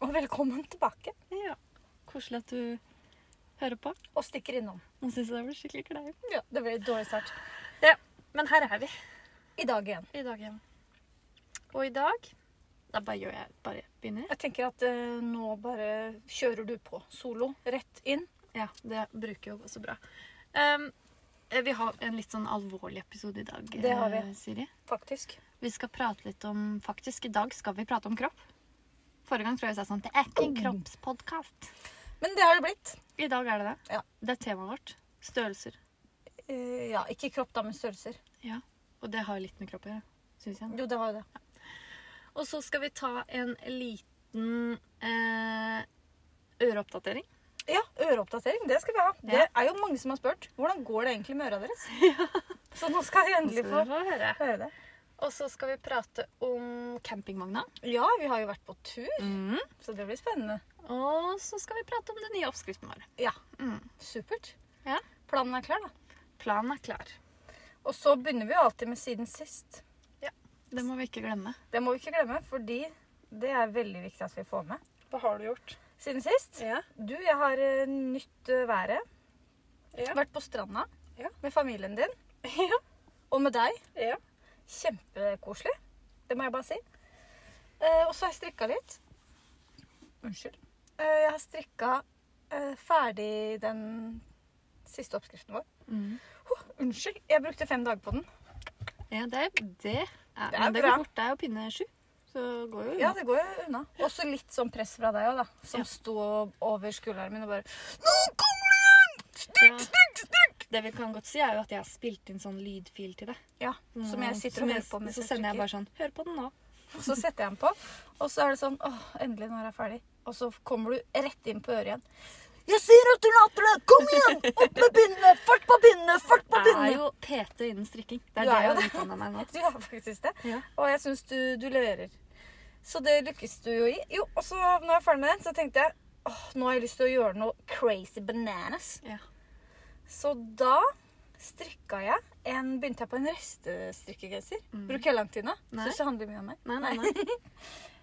velkommen tilbake Ja. Koselig at du hører på. og stikker innom. Nå syns jeg det blir skikkelig kleint. Ja, Det ble et dårlig start. Men her er vi I dag igjen. i dag igjen. Og i dag Da bare gjør jeg bare begynner. jeg. Jeg tenker at eh, nå bare kjører du på solo. Rett inn. Ja, det bruker jo så bra. Ehm, eh, vi har en litt sånn alvorlig episode i dag, Det har vi. eh, Siri. Faktisk. Vi skal prate litt om Faktisk, i dag skal vi prate om kropp. Forrige gang tror jeg jeg sa sånn Det er ikke en kroppspodkast. Men det har det blitt. I dag er det det. Ja. Det er temaet vårt. Størrelser. Eh, ja, ikke kropp, da, men størrelser. Ja. Og det har litt med kropp å gjøre, syns jeg. Jo, det var jo det. Og så skal vi ta en liten eh, øreoppdatering. Ja, øreoppdatering. Det skal vi ha. Det Ja. er jo mange som har spurt. Hvordan går det egentlig med øra deres? Så nå skal vi endelig få høre. høre det. Og så skal vi prate om campingvogna. Ja, vi har jo vært på tur, så det blir spennende. Og så skal vi prate om den nye oppskriften vår. Ja, Mm. supert. Ja. Planen er klar, da. Planen er klar. Og så begynner vi jo alltid med siden sist. Det må vi ikke glemme. Det må vi ikke glemme, fordi det er veldig viktig at vi får med. Hva har du gjort? Siden sist Ja. Du, jeg har eh, nytt eh, været. Ja. Vært på stranda Ja. med familien din. Og med deg. Kjempekoselig. Det må jeg bare si. Eh, og så har jeg strikka litt. Unnskyld. Eh, jeg har strikka eh, ferdig den siste oppskriften vår. Mm. Huh, unnskyld, jeg brukte fem dager på den. Ja, det er det. Det Er, er men det bra. går fort. Det er jo pinne sju. Så går jo Ja, unna. det går jo unna. Og så litt sånn press fra deg òg, da. Som Ja. sto over skulderen min og bare Nå kommer det igjen! Stikk, Ja. stikk, stikk! Det vi kan godt si, er jo at jeg har spilt inn sånn lydfil til deg. Ja, som jeg sitter og Mm, Som jeg- hører på mens Så sender jeg strikker. bare sånn Hør på den nå. Og så setter jeg den på, og så er det sånn Åh, endelig, nå er jeg ferdig. Og så kommer du rett inn på øret igjen. Jeg sier at du later det! Kom igjen! Opp med bindene! Fart på bindene! Fart på Jeg er bindene! jo PT innen strikking. Det Du er det er jeg jo har det. utdanna meg nå. Du er faktisk det. Ja. Og jeg syns du, du leverer. Så det lykkes du jo i. Jo, og så når jeg er ferdig med den, så tenkte jeg åh, nå har jeg lyst til å gjøre noe crazy bananas. Ja. Så da strikka jeg en Begynte jeg på en restestrikkegenser. Mm. Bruker jeg lang tid nå? Nei. Syns det handler mye om meg? Nei, nei, nei.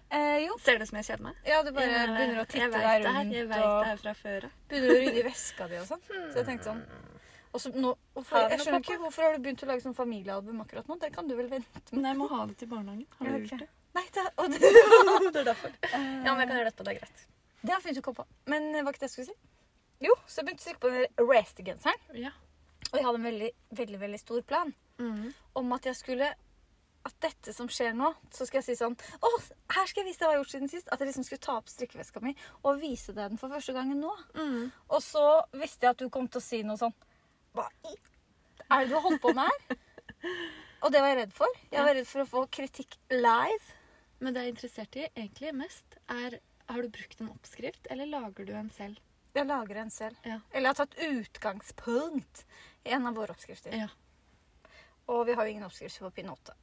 Eh, jo, Ser det ut som jeg kjeder meg? Ja, du bare Jeg- begynner å titte jeg vet deg det her, rundt Jeg vet det Hmm. og her fra før av. begynner å rydde i veska di og sånn. Så jeg tenkte sånn og så nå, hvorfor, Har du jeg noe skjønner pappa? ikke hvorfor har du begynt å lage sånn familiealbum akkurat nå. Det kan du vel vente med. Men jeg må ha det til barnehagen. Har du Ja, ok. gjort det? Eh, Nei, det, og det, det er derfor. Ja, men jeg kan gjøre dette. Det er greit. det har fint å komme på. Men eh, hva var ikke det jeg skulle si? Jo, så jeg begynte å strikke på den rest-genseren. Ja. Og jeg hadde en veldig, veldig, veldig stor plan Mm. om at jeg skulle At dette som skjer nå, så skal jeg si sånn Å, her skal jeg vise deg hva jeg har gjort siden sist. At jeg liksom skulle ta opp strikkeveska mi og vise deg den for første gangen nå. Mm. Og så visste jeg at du kom til å si noe sånn Hva i er det du har holdt på med her? Og det var jeg redd for. Jeg var redd for å få kritikk live. Men det jeg er interessert i egentlig mest, er har du brukt en oppskrift, eller lager du en selv? Jeg lager en selv. Ja. Eller jeg har tatt utgangspunkt i en av våre oppskrifter. Ja. Og vi har jo ingen oppskrifter på pinne åtte.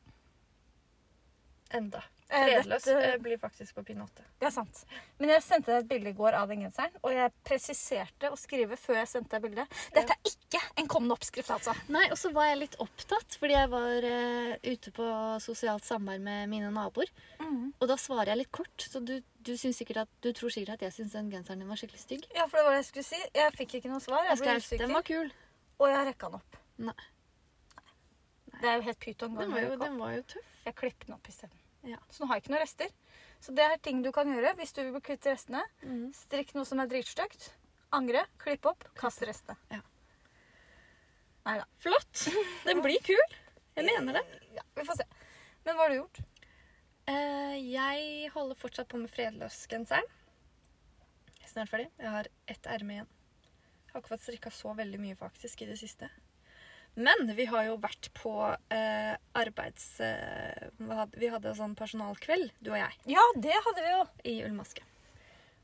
Enda. Eh, dette- blir faktisk på pinne åtte. Det er sant. Men jeg sendte deg et bilde i går av den genseren, og jeg presiserte å skrive før jeg sendte deg bildet. Dette er ikke en kommende oppskrift, altså. Nei, og så var jeg litt opptatt, fordi jeg var eh, ute på sosialt samvær med mine naboer. Mm. Og da svarer jeg litt kort, så du, du, syns sikkert at, du tror sikkert at jeg syns den genseren din var skikkelig stygg. Ja, for det var det jeg skulle si. Jeg fikk ikke noe svar. Jeg Jeg ble skrev den var usikker. kul. Og jeg rekka den opp. Nei. Det er jo helt pyton. Den gang å var jo, rekke opp. den var jo tøff. Jeg klipper den opp isteden. Ja. Så nå har jeg ikke noen rester. Så det er ting du kan gjøre hvis du vil bli kvitt restene. Mhm. Strikk noe som er dritstygt. Angre. Klipp opp. Kast restene. Ja. Nei da. Flott! Den blir kul. Jeg mener det. Ja, vi får se. Men hva har du gjort? Eh, jeg holder fortsatt på med fredløs-genseren. Jeg er Snart ferdig. Jeg har ett erme igjen. Jeg har ikke fått strikka så veldig mye faktisk i det siste. Men vi har jo vært på eh, arbeids... eh, hva had- vi hadde sånn personalkveld, du og jeg, Ja, det hadde vi jo. i Ullmaske.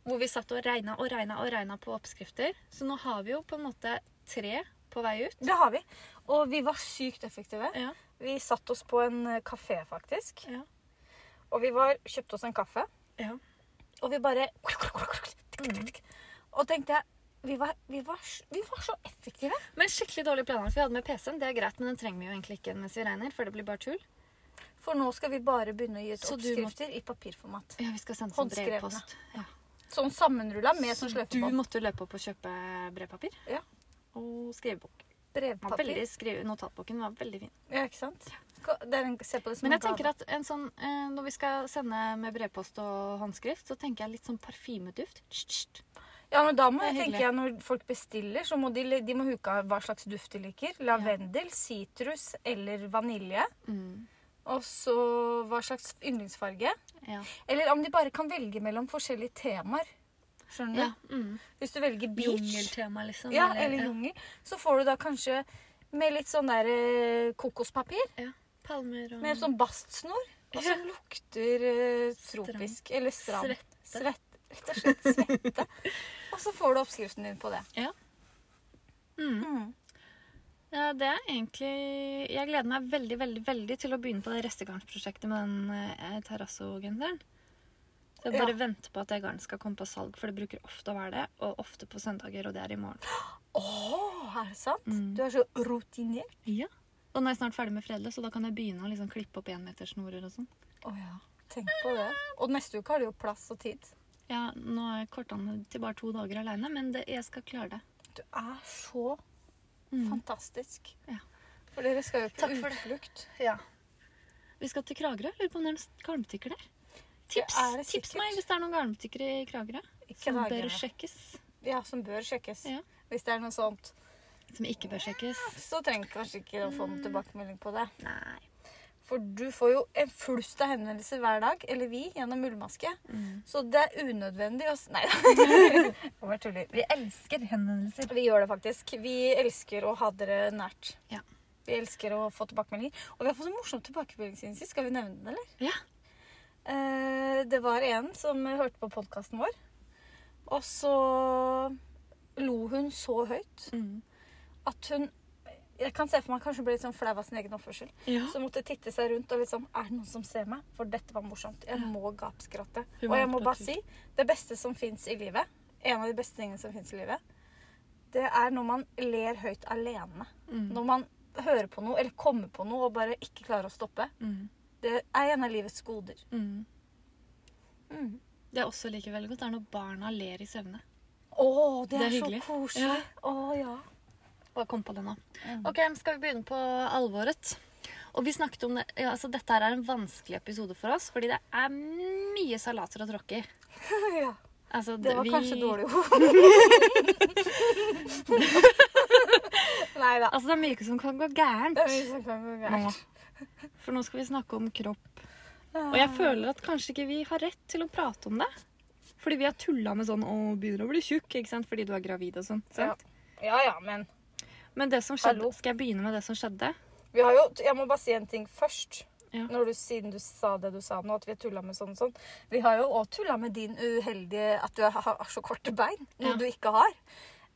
Hvor vi satt og regna og regna og regna på oppskrifter. Så nå har vi jo på en måte tre på vei ut. Det har vi. Og vi var sykt effektive. Ja. Vi satt oss på en eh, kafé, faktisk. Ja. Og vi var, kjøpte oss en kaffe. Ja. Og vi bare Og tenkte jeg vi var, vi, var, s- vi var så effektive. Men skikkelig dårlig planlagt. Vi hadde med PC-en. Det er greit, men den trenger vi jo egentlig ikke mens vi regner, for det blir bare tull. For nå skal vi bare begynne å gi ut Så du må- oppskrifter i papirformat. Ja, vi skal sende som Håndskrevne. brevpost. Ja. Sånn sammenrulla med sånn Så du sløyfe på. måtte løpe opp og kjøpe brevpapir? Ja. Og skrivebok. Den Var Brevpapir. veldig, skrive, notatboken var veldig fin. Ja, ikke sant? Ko- Det er en, se på det som Men en jeg tenker gave. at en sånn, eh, når vi skal sende med brevpost og håndskrift, så tenker jeg litt sånn parfymeduft. Tsk, tsk. Ja, men da må Det er jeg tenke jeg når folk bestiller, så må de, le- de må huke av hva slags duft de liker. Lavendel, sitrus eller vanilje. Mm. Og så hva slags yndlingsfarge. Ja. Eller om de bare kan velge mellom forskjellige temaer. Skjønner du? ja. Mm. Hvis du velger beach Jungeltema, liksom. ja, eller jungel, så får du da kanskje med litt sånn der eh, kokospapir. palmer og Med sånn bastsnor. Og som lukter eh, tropisk. Eller stram. Svette. Svett. Rett og slett svette. og så får du oppskriften din på det. mm. Mm. Ja, det er egentlig Jeg gleder meg veldig veldig, veldig til å begynne på det restegarnsprosjektet med den eh, terrassogenseren. Så jeg bare Ja. venter på at det garnet skal komme på salg, for det bruker ofte å være det. Og ofte på søndager, og det er i morgen. Åh, er det sant? Mm. Du er så rutinert. Ja. Og nå er jeg snart ferdig med fredløs, og da kan jeg begynne å liksom klippe opp enmetersnorer og sånn. Å ja. Tenk på det. Og neste uke har du jo plass og tid. Ja, nå er kortene til bare to dager aleine, men det, jeg skal klare det. Du er så Mm. fantastisk. Ja. For dere skal jo på Takk for det. utflukt. Vi skal til Kragerø. Lurer på om det er noen garnbutikker der. Tips, er det tips sikkert. meg hvis det er noen garnbutikker i Kragerø Ikke som dagene. bør sjekkes. Ja, som bør sjekkes. Ja. Hvis det er noe sånt. Som ikke bør sjekkes. Så trenger vi kanskje ikke å få noen tilbakemelding på det. Nei. For du får jo en flust av henvendelser hver dag, eller vi, gjennom Ullmaske. Så det er unødvendig å s- Nei da. Vi elsker henvendelser. Vi gjør det faktisk. Vi elsker å ha dere nært. Ja. Vi elsker å få tilbakemeldinger. Og vi har fått en morsom tilbakemelding siden sist. Skal vi nevne den, eller? Ja. Eh, det var en som hørte på podkasten vår, og så lo hun så høyt Mm. at hun Jeg kan se for meg kanskje hun ble litt sånn flau av sin egen oppførsel. ja. Så måtte titte seg rundt og liksom Er det noen som ser meg? For dette var morsomt. Jeg må gapskratte. Hun Og var jeg må på bare tur. si det beste som fins i livet, en av de beste tingene som fins i livet, det er når man ler høyt alene. Mm. Når man hører på noe eller kommer på noe og bare ikke klarer å stoppe. Mm. Det er en av livets goder. Mm. Mm. Det jeg også liker veldig godt, er når barna ler i søvne. Å, det, Det er er, så hyggelig. koselig. Ja. Å ja. Bare kom på det nå. Mm. Ok, men skal vi begynne på alvoret? Og vi snakket om det, ja, altså Dette her er en vanskelig episode for oss, fordi det er mye salater å tråkke i. ja. Altså, Det var vi- kanskje dårlig ord. Nei da. Altså, det er mye som kan gå gærent. Det er mye som kan gå gærent. For nå skal vi snakke om kropp. Og Ah. jeg føler at kanskje ikke vi har rett til å prate om det. Fordi vi har tulla med sånn 'Å, begynner å bli tjukk', ikke sant? fordi du er gravid og sånn. sant? Ja ja, men Men det som skjedde, Hallo. skal jeg begynne med det som skjedde? Vi har jo, jeg må bare si en ting først. Ja. Når du, siden du sa det du sa nå, at vi har tullet med sånn og sånn. Vi har jo òg tulla med din uheldige At du har, har så korte bein. Noe Ja. du ikke har.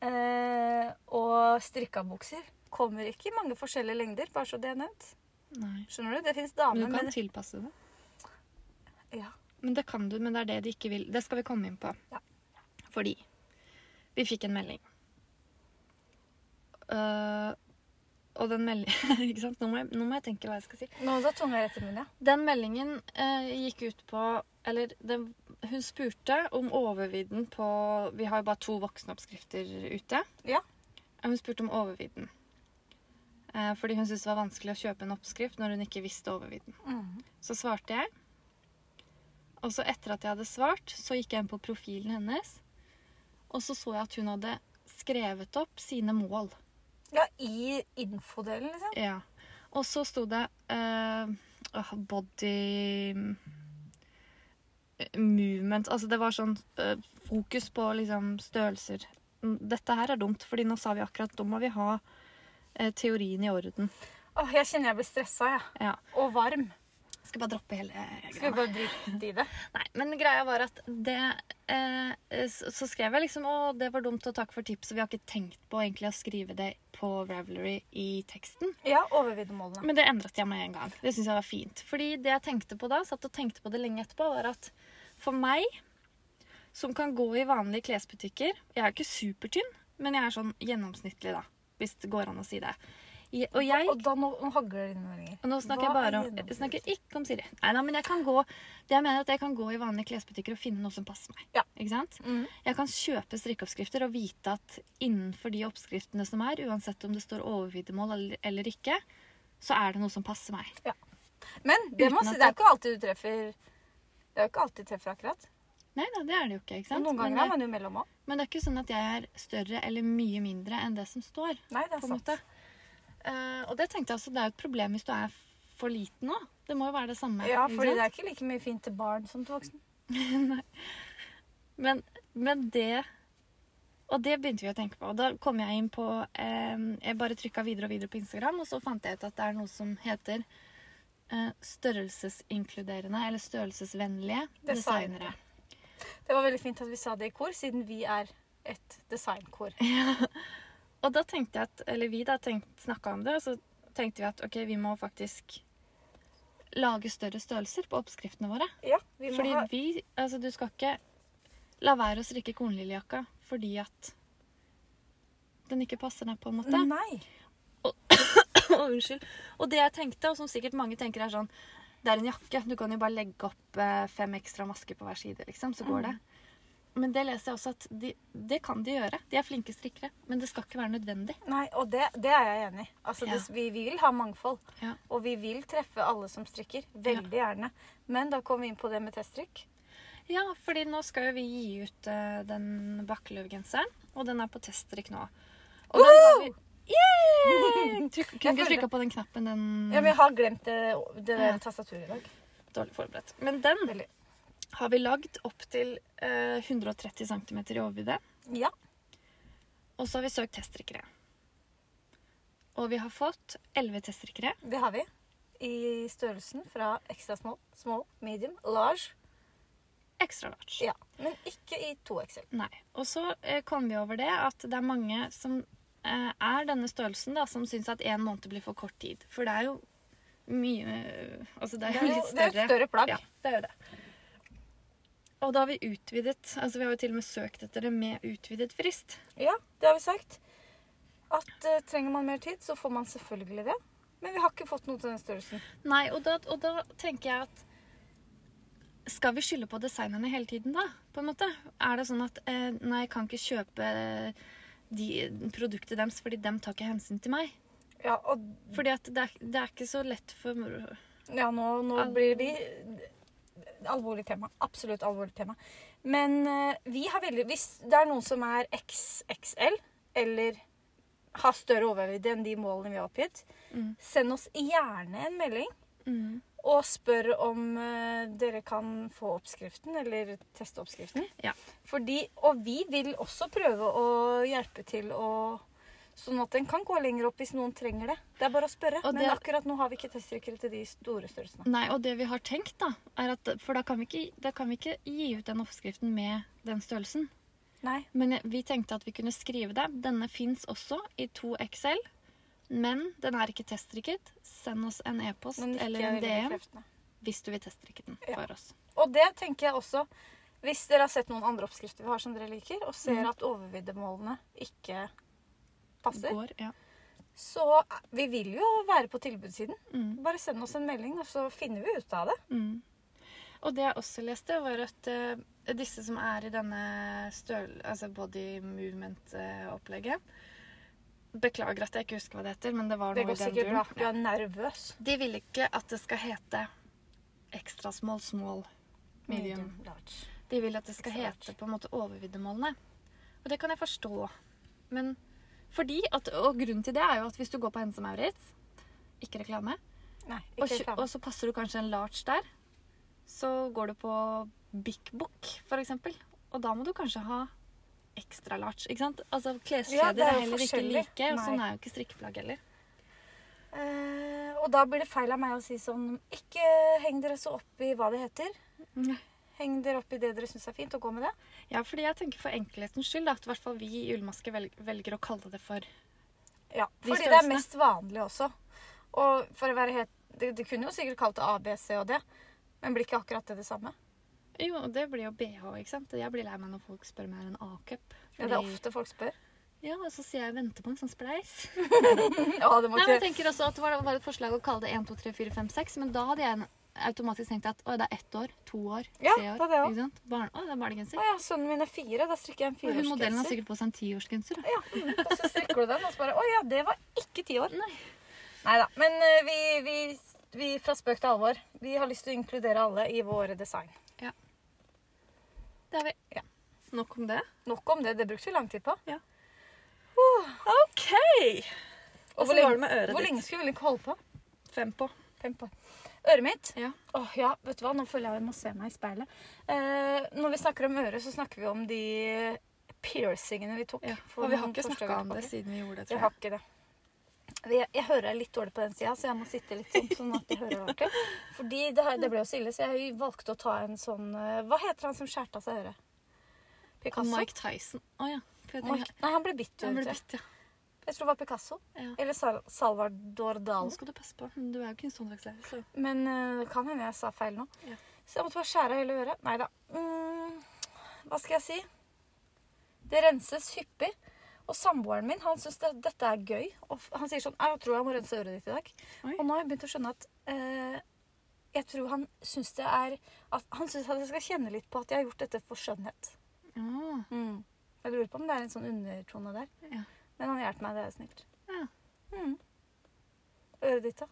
Eh, og strikka bukser kommer ikke i mange forskjellige lengder, bare så det er nevnt. Nei. Skjønner du? Det fins Men damer du kan med tilpasse det. ja. Men det kan du, men det er det de ikke vil. Det skal vi komme inn på. Ja. Fordi vi fikk en melding. Øh, og den meldingen Ikke sant? Nå må, jeg, nå må jeg tenke hva jeg skal si. Nå da tunga rett i munnen, ja. Den meldingen eh, gikk ut på Eller den, hun spurte om overvidden på Vi har jo bare to voksenoppskrifter ute. Ja. Eh, Hun spurte om overvidden. Eh, fordi hun syntes det var vanskelig å kjøpe en oppskrift når hun ikke visste overvidden. Mm. Så svarte jeg. Og så etter at jeg hadde svart, så gikk jeg inn på profilen hennes. Og så så jeg at hun hadde skrevet opp sine mål. ja I infodelen, liksom. Ja. Og så sto det eh, åh, body movement Altså det var sånn eh, fokus på liksom størrelser. Mm, Dette her er dumt, fordi nå sa vi akkurat da må vi ha eh, teorien i orden. Åh, jeg kjenner jeg blir stressa, jeg. Ja. Og varm. Skal bare droppe hele eh, Skal vi greia. bare drite i det? Nei, men greia var at det eh, s- Så skrev jeg liksom Å, det var dumt, og takk for tipset. Vi har ikke tenkt på egentlig å skrive det på Ravelry i teksten. Ja, overviddemålene. Men det endret jeg med en gang. Det synes jeg var fint. Fordi det jeg tenkte på da, satt og tenkte på det lenge etterpå, var at for meg, som kan gå i vanlige klesbutikker Jeg er ikke supertynn, men jeg er sånn gjennomsnittlig, da. Hvis det går an å si det. Je- Og jeg Og da nå, nå hagler det inn meldinger. og nå snakker Hva jeg er bare om, jeg gjennomsnitt? snakker ikke om Siri. Nei, nei, men jeg kan gå det jeg mener er at jeg kan gå i vanlige klesbutikker og finne noe som passer meg. Ja. Ikke sant? Mm. Jeg kan kjøpe strikkeoppskrifter og vite at innenfor de oppskriftene som er, uansett om det står overviddemål eller, eller ikke, så er det noe som passer meg. Men det, må, Uten at si- det er jo ikke alltid du treffer Det er jo ikke alltid du treffer akkurat. Nei da, det er det jo ikke. ikke Og sant? noen ganger men, er man jo mellom òg. men det er ikke sånn at jeg er større eller mye mindre enn det som står. Nei, det er på en sant. måte. Eh, og det tenkte jeg også, det er jo et problem hvis du er for liten nå. Det må jo være det samme. Ja, ikke fordi sant? det er ikke like mye fint til barn som til voksen. Men, men det Og det begynte vi å tenke på. Og da kom jeg inn på eh, Jeg bare trykka videre og videre på Instagram, og så fant jeg ut at det er noe som heter eh, størrelsesinkluderende eller størrelsesvennlige Designere. designere. Det var veldig fint at vi sa det i kor, siden vi er et designkor. Og da tenkte jeg at Eller vi da snakka om det, og så tenkte vi at ok, vi må faktisk lage større størrelser på oppskriftene våre. Ja, vi må Fordi ha vi, altså du skal ikke la være å strikke kornlillejakka fordi at den ikke passer deg på en måte. Nei. Å, unnskyld. Og det jeg tenkte, og som sikkert mange tenker er sånn, det er en jakke, du kan jo bare legge opp eh, fem ekstra masker på hver side, liksom, så går det. Men det leser jeg også at de, det kan de gjøre. De er flinke strikkere, men det skal ikke være nødvendig. Nei, og det, det er jeg enig i. Altså, Ja. det, vi, vi vil ha mangfold. Ja. Og vi vil treffe alle som strikker. Veldig gjerne. Men da kom vi inn på det med teststrikk. Ja, fordi nå skal jo vi gi ut eh, den bakkeløvgenseren, og den er på teststrikk nå. Og den har vi... Yay! Trykk, kunne føler- ikke trykka på den knappen, den... Ja, men jeg har glemt det, det der Mm. Ja. tastaturet i dag. Dårlig forberedt. Men den Veldig. har vi lagd opp til eh, 130 cm i overvidde. Ja. Og så har vi søkt teststrikkere. Og vi har fått 11 teststrikkere. Det har vi. I størrelsen fra ekstra små, små, medium, large. Ekstra large. Ja, Men ikke i 2XL. Nei. Og så eh, kom vi over det at det er mange som eh, er denne størrelsen, da, som syns at én måned blir for kort tid. For det er jo mye eh, Altså Det det er er jo jo litt det er større. et større plagg. Ja, det er jo det. Og da har vi utvidet Altså vi har jo til og med søkt etter det med utvidet frist. Ja, det har vi sagt. At eh, trenger man mer tid, så får man selvfølgelig det. Men vi har ikke fått noe til den størrelsen. Nei, og da, og da tenker jeg at Skal vi skylde på designerne hele tiden, da? På en måte? Er det sånn at eh, Nei, jeg kan ikke kjøpe de, produktet deres, fordi dem tar ikke hensyn til meg. Ja, og Fordi at det er, det er ikke så lett for ja, nå, nå Al- blir vi Alvorlig tema. Absolutt alvorlig tema. Men eh, vi har veldig Hvis det er noen som er XXL, eller har større overvidde enn de målene vi har oppgitt, Mm. send oss gjerne en melding. Mm. og spør om eh, dere kan få oppskriften, eller teste oppskriften. Ja. Fordi, og vi vil også prøve å hjelpe til å Sånn at den kan gå lenger opp hvis noen trenger det. Det er bare å spørre. Og Men det- akkurat nå har vi ikke teststyrker til de store størrelsene. Nei, og det vi har tenkt, da, er at For da kan vi ikke, da kan vi ikke gi ut den oppskriften med den størrelsen. Nei. Men jeg- vi tenkte at vi kunne skrive det. Denne fins også i 2XL. Men den er ikke teststrikket. Send oss en e-post Men ikke eller en veldig DM. bekreftende. hvis du vil teststrikke den Ja. for oss. Og det tenker jeg også Hvis dere har sett noen andre oppskrifter vi har som dere liker, og ser Mm. at overviddemålene ikke passer, Går, ja. så eh, Vi vil jo være på tilbudssiden. Mm, Bare send oss en melding, og så finner vi ut av det. mm. Og det jeg også leste, var at eh, disse som er i denne størl... Altså body movement-opplegget Beklager at jeg ikke husker hva det heter, men det var Det noe går i den sikkert bra. duren. Du er nervøs. De vil ikke at det skal hete ekstra small, small, medium. large. De vil at det skal Extra hete på en måte overviddemålene. Og det kan jeg forstå. Men fordi at, Og grunnen til det er jo at hvis du går på Hennes og Maurits, ikke reklame, Nei, Og, ikke kjø- reklame. og så passer du kanskje en large der. Så går du på Big Book, for eksempel. Og da må du kanskje ha ekstra large. ikke sant? Altså Ja, Kleskjeder det er er jo heller ikke forskjellig. like, og Nei. sånn er jo ikke strikkeplagg heller. Eh, og da blir det feil av meg å si sånn Ikke heng dere så opp i hva det heter. Mm. Heng dere opp i det dere syns er fint, og gå med det. Ja, fordi jeg tenker for enkelhetens skyld da, at i hvert fall vi i Ullmaske vel- velger å kalle det for Ja, De Fordi det er størrelsene. mest vanlig også. Og for å være helt Du, du kunne jo sikkert kalt det A, B, C og D, men blir ikke akkurat det det samme? Jo, det blir jo BH, ikke sant? Jeg blir lei meg når folk spør meg er en A-cup. Ja, det er fordi- ofte folk spør. Ja, og så sier jeg vente på en sånn spleis. Ja, det må Nei, men jeg ikke tenker også at Det var, var et forslag å kalle det 1, 2, 3, 4, 5, 6, men da hadde jeg automatisk tenkt at å, det er ett år, to år, tre Ja, år. det er det også. ikke sant? Barn, å, det er Å barnegenser. ja, sønnen min er fire. Da strikker jeg en Og hun modellen har fireårsgenser. sikkert på seg en tiårsgenser. da. Ja, mm, og så strikker du den, og så bare Å ja, det var ikke ti år. Nei. Neida, Men eh, vi, vi, vi fra spøk til alvor. Vi har lyst til å inkludere alle i våre design. Det er vi. Nok om det. Nok om det. Det brukte vi lang tid på. OK! Og Og så hvor var lenge, det med øret Altså, hvor lenge ditt. skulle vi ikke holde på? Fem på. Fem på. Øret mitt? Ja. Åh, ja, vet du hva? Nå føler jeg jeg må se meg i speilet. Eh, når vi snakker om øret, så snakker vi om de piercingene vi tok. Ja. for Og vi har noen ikke torsdager snakka om tilbake. det siden vi gjorde det, Jeg tror har jeg. ikke det. Jeg, jeg hører litt dårlig på den sida, så jeg må sitte litt sånn sånn at jeg hører ordentlig. Fordi det, her, det ble jo så ille, så jeg valgte å ta en sånn eh, Hva heter han som skjærte av seg øret? Og Picasso? Mike Tyson. Å ja. For jeg tenker, Mike- Nei, han ble bitt. Han ble tror jeg. bitt, ja. Jeg tror det var Picasso. Ja. Eller Sal Salvador Nå Dali. skal du passe på. Du er jo kunsthåndverkslærer, så Men eh, det kan hende jeg sa feil nå. Ja. Så jeg måtte bare skjære av hele øret. Nei da. Mm, hva skal jeg si? Det renses hyppig. Og samboeren min han syns det, dette er gøy. Og f- han sier sånn Jeg tror jeg må rense øret ditt i dag. Oi. Og nå har jeg begynt å skjønne at eh, jeg tror han syns det er at Han syns at jeg skal kjenne litt på at jeg har gjort dette for skjønnhet. ja. Jeg lurer på om det er en sånn undertone der. Ja. Men han hjelper meg, det er snilt. Ja. Mm. Øret ditt, da?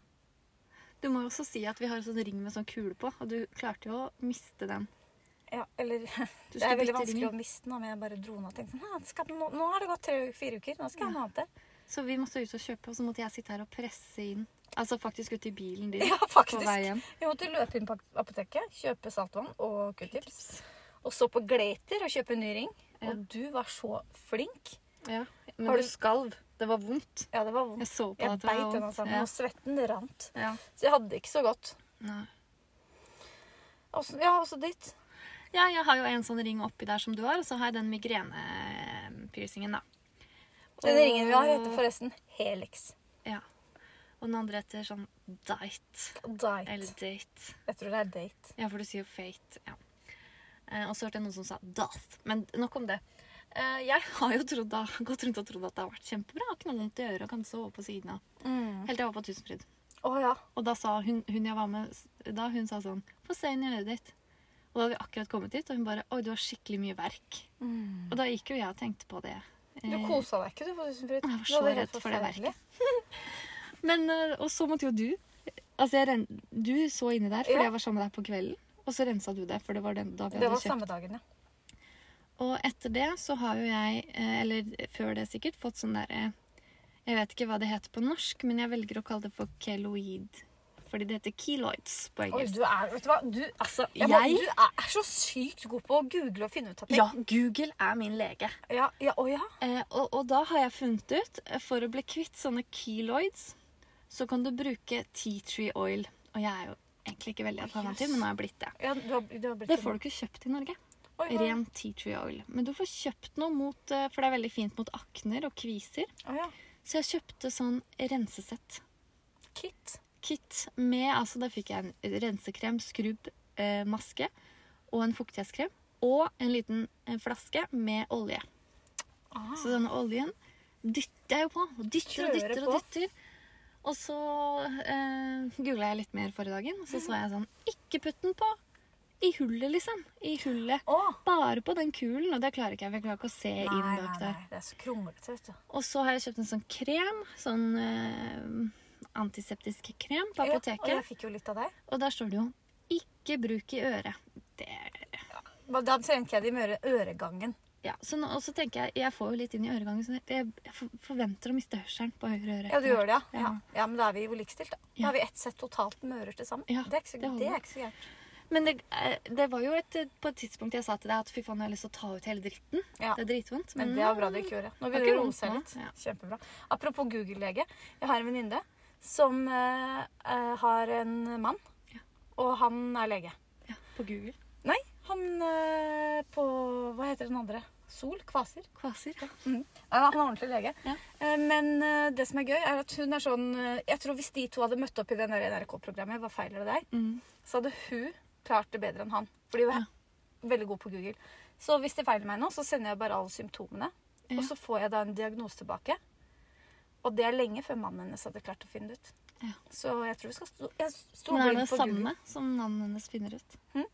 Du må jo også si at vi har en sånn ring med sånn kule på, og du klarte jo å miste den. Ja, eller Du Det er skulle veldig bytte vanskelig ringen. å miste den, da, men jeg bare dro den og tenkte sånn, «Hæ, skal, den- nå, nå har det gått tre-fire uker, nå skal jeg ha noe annet der. Så vi måtte ut og kjøpe, og så måtte jeg sitte her og presse inn. Altså faktisk ut i bilen din Ja, på vei faktisk. hjem. Jeg måtte løpe inn på apoteket, kjøpe saltvann og q-tips. Og så på Glater og kjøpe en ny ring. Ja. Og du var så flink. Ja. Har Men du- du skalv. Det var vondt. Ja, det var vondt. Jeg så på Jeg at det var beit altså, henne vondt. sammen, og svetten rant. Ja. Så jeg hadde det ikke så godt. Ja. Også, ja, også ditt. ja, jeg har jo en sånn ring oppi der som du har, og så har jeg den migrenepiercingen, da. Den ringen vi har, heter forresten Helix. Ja. Og den andre heter sånn dite. Eller Date. date. Jeg tror det er date. Ja, for du sier jo fate. Ja. Eh, og så hørte jeg noen som sa dath. Men nok om det. Eh, jeg har jo trodd da, gått rundt og trodd at det har vært kjempebra. Jeg har ikke noe vondt i øret og kan sove på siden av. Mm. Helt til jeg var på Tusenfryd. Å ja. Og da sa hun, hun jeg var med, s- da hun sa sånn Få se inn i øret ditt. Og da hadde vi akkurat kommet dit, og hun bare Oi, du har skikkelig mye verk. Og da gikk jo jeg og tenkte på det. Du Eh, kosa deg ikke, du, på Tusenfryd? Jeg Du var hadde så helt redd for det forferdelig. Men, eh, og så måtte jo du Altså, jeg ren, du så inni der fordi Ja. jeg var sammen med deg på kvelden. Og så rensa du det, for det var den da vi Det hadde var kjøpt. samme dagen, ja. Og etter det så har jo jeg, eh, eller før det sikkert, fått sånn derre Jeg vet ikke hva det heter på norsk, men jeg velger å kalle det for keloid. Fordi det heter keloids på Oi, engelsk. du er, vet du hva? Du, altså, jeg må, du er, er så sykt god på å google og finne ut av ting. Ja, Google er min lege. Ja, ja, å ja. Eh, og, og da har jeg funnet ut eh, for å bli kvitt sånne keloids, så kan du bruke tea tree oil. Og jeg er jo egentlig ikke veldig alternativ, men nå har jeg blitt det. ja du, har, du har blitt Det får du ikke kjøpt i Norge. Oi, oi. Ren tea tree oil. Men du får kjøpt noe mot eh, For det er veldig fint mot akner og kviser. Å ja. Så jeg kjøpte sånn rensesett. Kit. Kit med Altså, da fikk jeg en rensekrem, skrubb, eh, maske og en fuktighetskrem. Og en liten eh, flaske med olje. Ah. Så denne oljen dytter jeg jo på. og Dytter og Kjører dytter på. og dytter. Og så eh, googla jeg litt mer forrige dagen, og så så jeg sånn Ikke putt den på i hullet, liksom. I hullet. Å. Bare på den kulen, og det klarer ikke jeg. for Jeg klarer ikke å se Nei, inn nei, bak nei. der. Det er så kronglete, vet du. Og så har jeg kjøpt en sånn krem. Sånn eh, antiseptisk krem på Ja, og apoteket. jeg fikk jo litt av deg. Og der står det jo 'ikke bruk i øret'. Det, Hva- Da trengte jeg det med øre, øregangen. ja, så nå, og så tenker jeg Jeg får jo litt inn i øregangen, så jeg, jeg for- forventer å miste hørselen på høyre øre. Ja, du gjør det, ja. ja. Ja. Ja, men da er vi jo likestilt, da. Da Ja. har vi ett sett totalt med ører til sammen. Ja, det er ikke så, det holder. det er ikke så gærent. Men det, eh, det var jo et, på et tidspunkt jeg sa til deg at fy faen, jeg har lyst til å ta ut hele dritten. Ja. Det er dritvondt. Men det er bra du ikke gjorde. Nå Det var begynner ikke du å vondt rose seg nå. litt. Ja. Kjempebra. Apropos Google-lege. Jeg har en venninne som eh, eh, har en mann, Ja. og han er lege. Ja, på Google. Nei, han eh, på Hva heter den andre? Sol? Kvaser? Kvaser. Ja, han er ordentlig lege. Ja. Eh, Men eh, det som er gøy, er at hun er sånn eh, Jeg tror hvis de to hadde møtt opp i det der NRK-programmet, hva feiler det deg? Mm. så hadde hun klart det bedre enn han. Fordi hun er veldig god på Google. Så hvis det feiler meg nå, så sender jeg bare alle symptomene. Og så får jeg da en diagnose tilbake. Og det er lenge før mannen hennes hadde klart å finne det ut. Ja. Så jeg tror vi skal stå, jeg står Men er det blind på samme Google. som navnet hennes finner ut?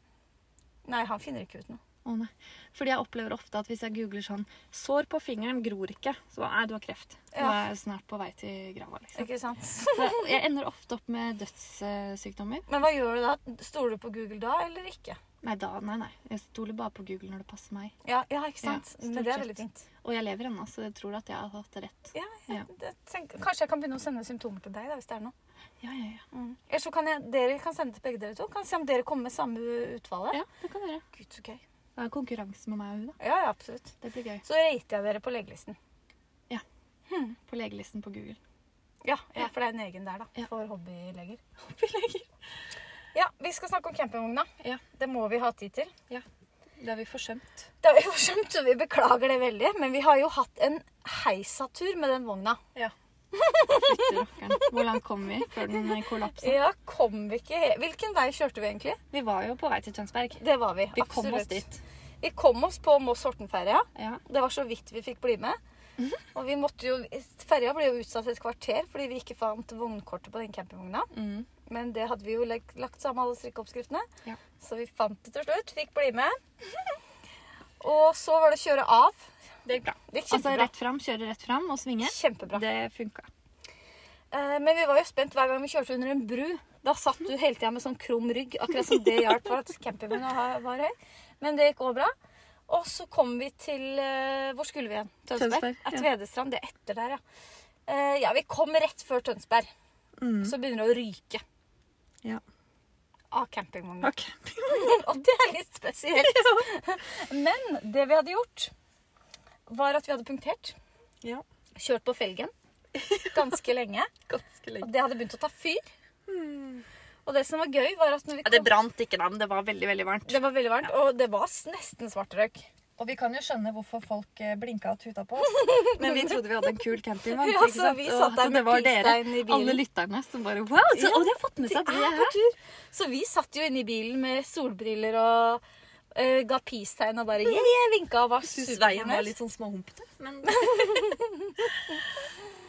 Nei, han finner ikke ut noe. Å nei. Fordi jeg opplever ofte at hvis jeg googler sånn 'Sår på fingeren gror ikke', så nei, du har kreft. Du Ja. er snart på vei til grava, liksom. Ikke sant? Så jeg ender ofte opp med dødssykdommer. Men hva gjør du da? Stoler du på Google da, eller ikke? Nei, da, nei, nei. Jeg stoler bare på Google når det passer meg. Ja, ja ikke Ja, sant? stort Men det er sett. veldig fint. Og jeg lever ennå, så jeg tror at jeg har hatt rett. Ja, jeg, Ja. jeg tenker, kanskje jeg kan begynne å sende symptomer til deg da, hvis det er noe. Ja, ja, ja. Eller så kan jeg, dere kan sende til begge dere to. Kan se om dere kommer med samme utfallet. Ja, det kan være. Gud, så gøy. Det er konkurranse med meg og hun, da. Ja, ja, absolutt. Det blir gøy. Så rater jeg dere på legelisten. På legelisten på Google. Ja, Ja. ja, for det er en egen der, da. Ja. For hobbyleger. Ja, vi skal snakke om campingvogna. Ja. Det må vi ha tid til. Det har vi forsømt. Det har vi forsømt, så vi beklager det veldig. Men vi har jo hatt en heisatur med den vogna. Fytti rakkeren. Hvor langt kom vi før den eh, kollapsa? Ja, kom vi ikke he- Hvilken vei kjørte vi egentlig? Vi var jo på vei til Tønsberg. Det var vi. Vi kom absolutt. oss dit. Vi kom oss på Moss Hortenferja. Ja. Det var så vidt vi fikk bli med. Og vi måtte jo Ferja ble jo utsatt et kvarter fordi vi ikke fant vognkortet på den campingvogna. Mm. Men det hadde vi jo leg- lagt sammen alle strikkeoppskriftene. Ja. Så vi fant det til slutt, fikk bli med. Og så var det kjøre av. Det gikk bra. Det gikk Altså kjempebra. rett fram, kjøre rett fram og svinge. kjempebra. Det funka. Eh, Men vi var jo spent hver gang vi kjørte under en bru. Da satt du hele tida med sånn krum rygg, akkurat som det hjalp for at campingvogna ha- var høy. Men det gikk òg bra. Og så kom vi til eh, Hvor skulle vi igjen? Tønsberg? Tønsberg, Ja, ja. Tvedestrand. Det er etter der, ja. Eh, ja, vi kom rett før Tønsberg. Mm. Så begynner det å ryke Ja. av campingvogna. Ok. Og det er litt spesielt. Men det vi hadde gjort, var at vi hadde punktert. Ja. Kjørt på felgen ganske lenge. Ganske Og lenge. det hadde begynt å ta fyr. Og det som var gøy, var at når vi Ja, det brant ikke, da, men det var veldig veldig varmt. det var veldig varmt, og det var s- nesten svart røyk. Og vi kan jo skjønne hvorfor folk eh, blinka og tuta på oss. Men vi trodde vi hadde en kul campingvogn. Ja, ikke så sant? vi Og satt der at med det var dere, pilstein i bilen. Alle lytterne som bare Wow! Så, Altså, og de har fått med seg at vi er her. Så vi satt jo inne i bilen med solbriller og eh, ga peace-tegn og bare yeah, yeah, vinka og var Syns veien var superfornøyd. litt sånn småhumpete. Men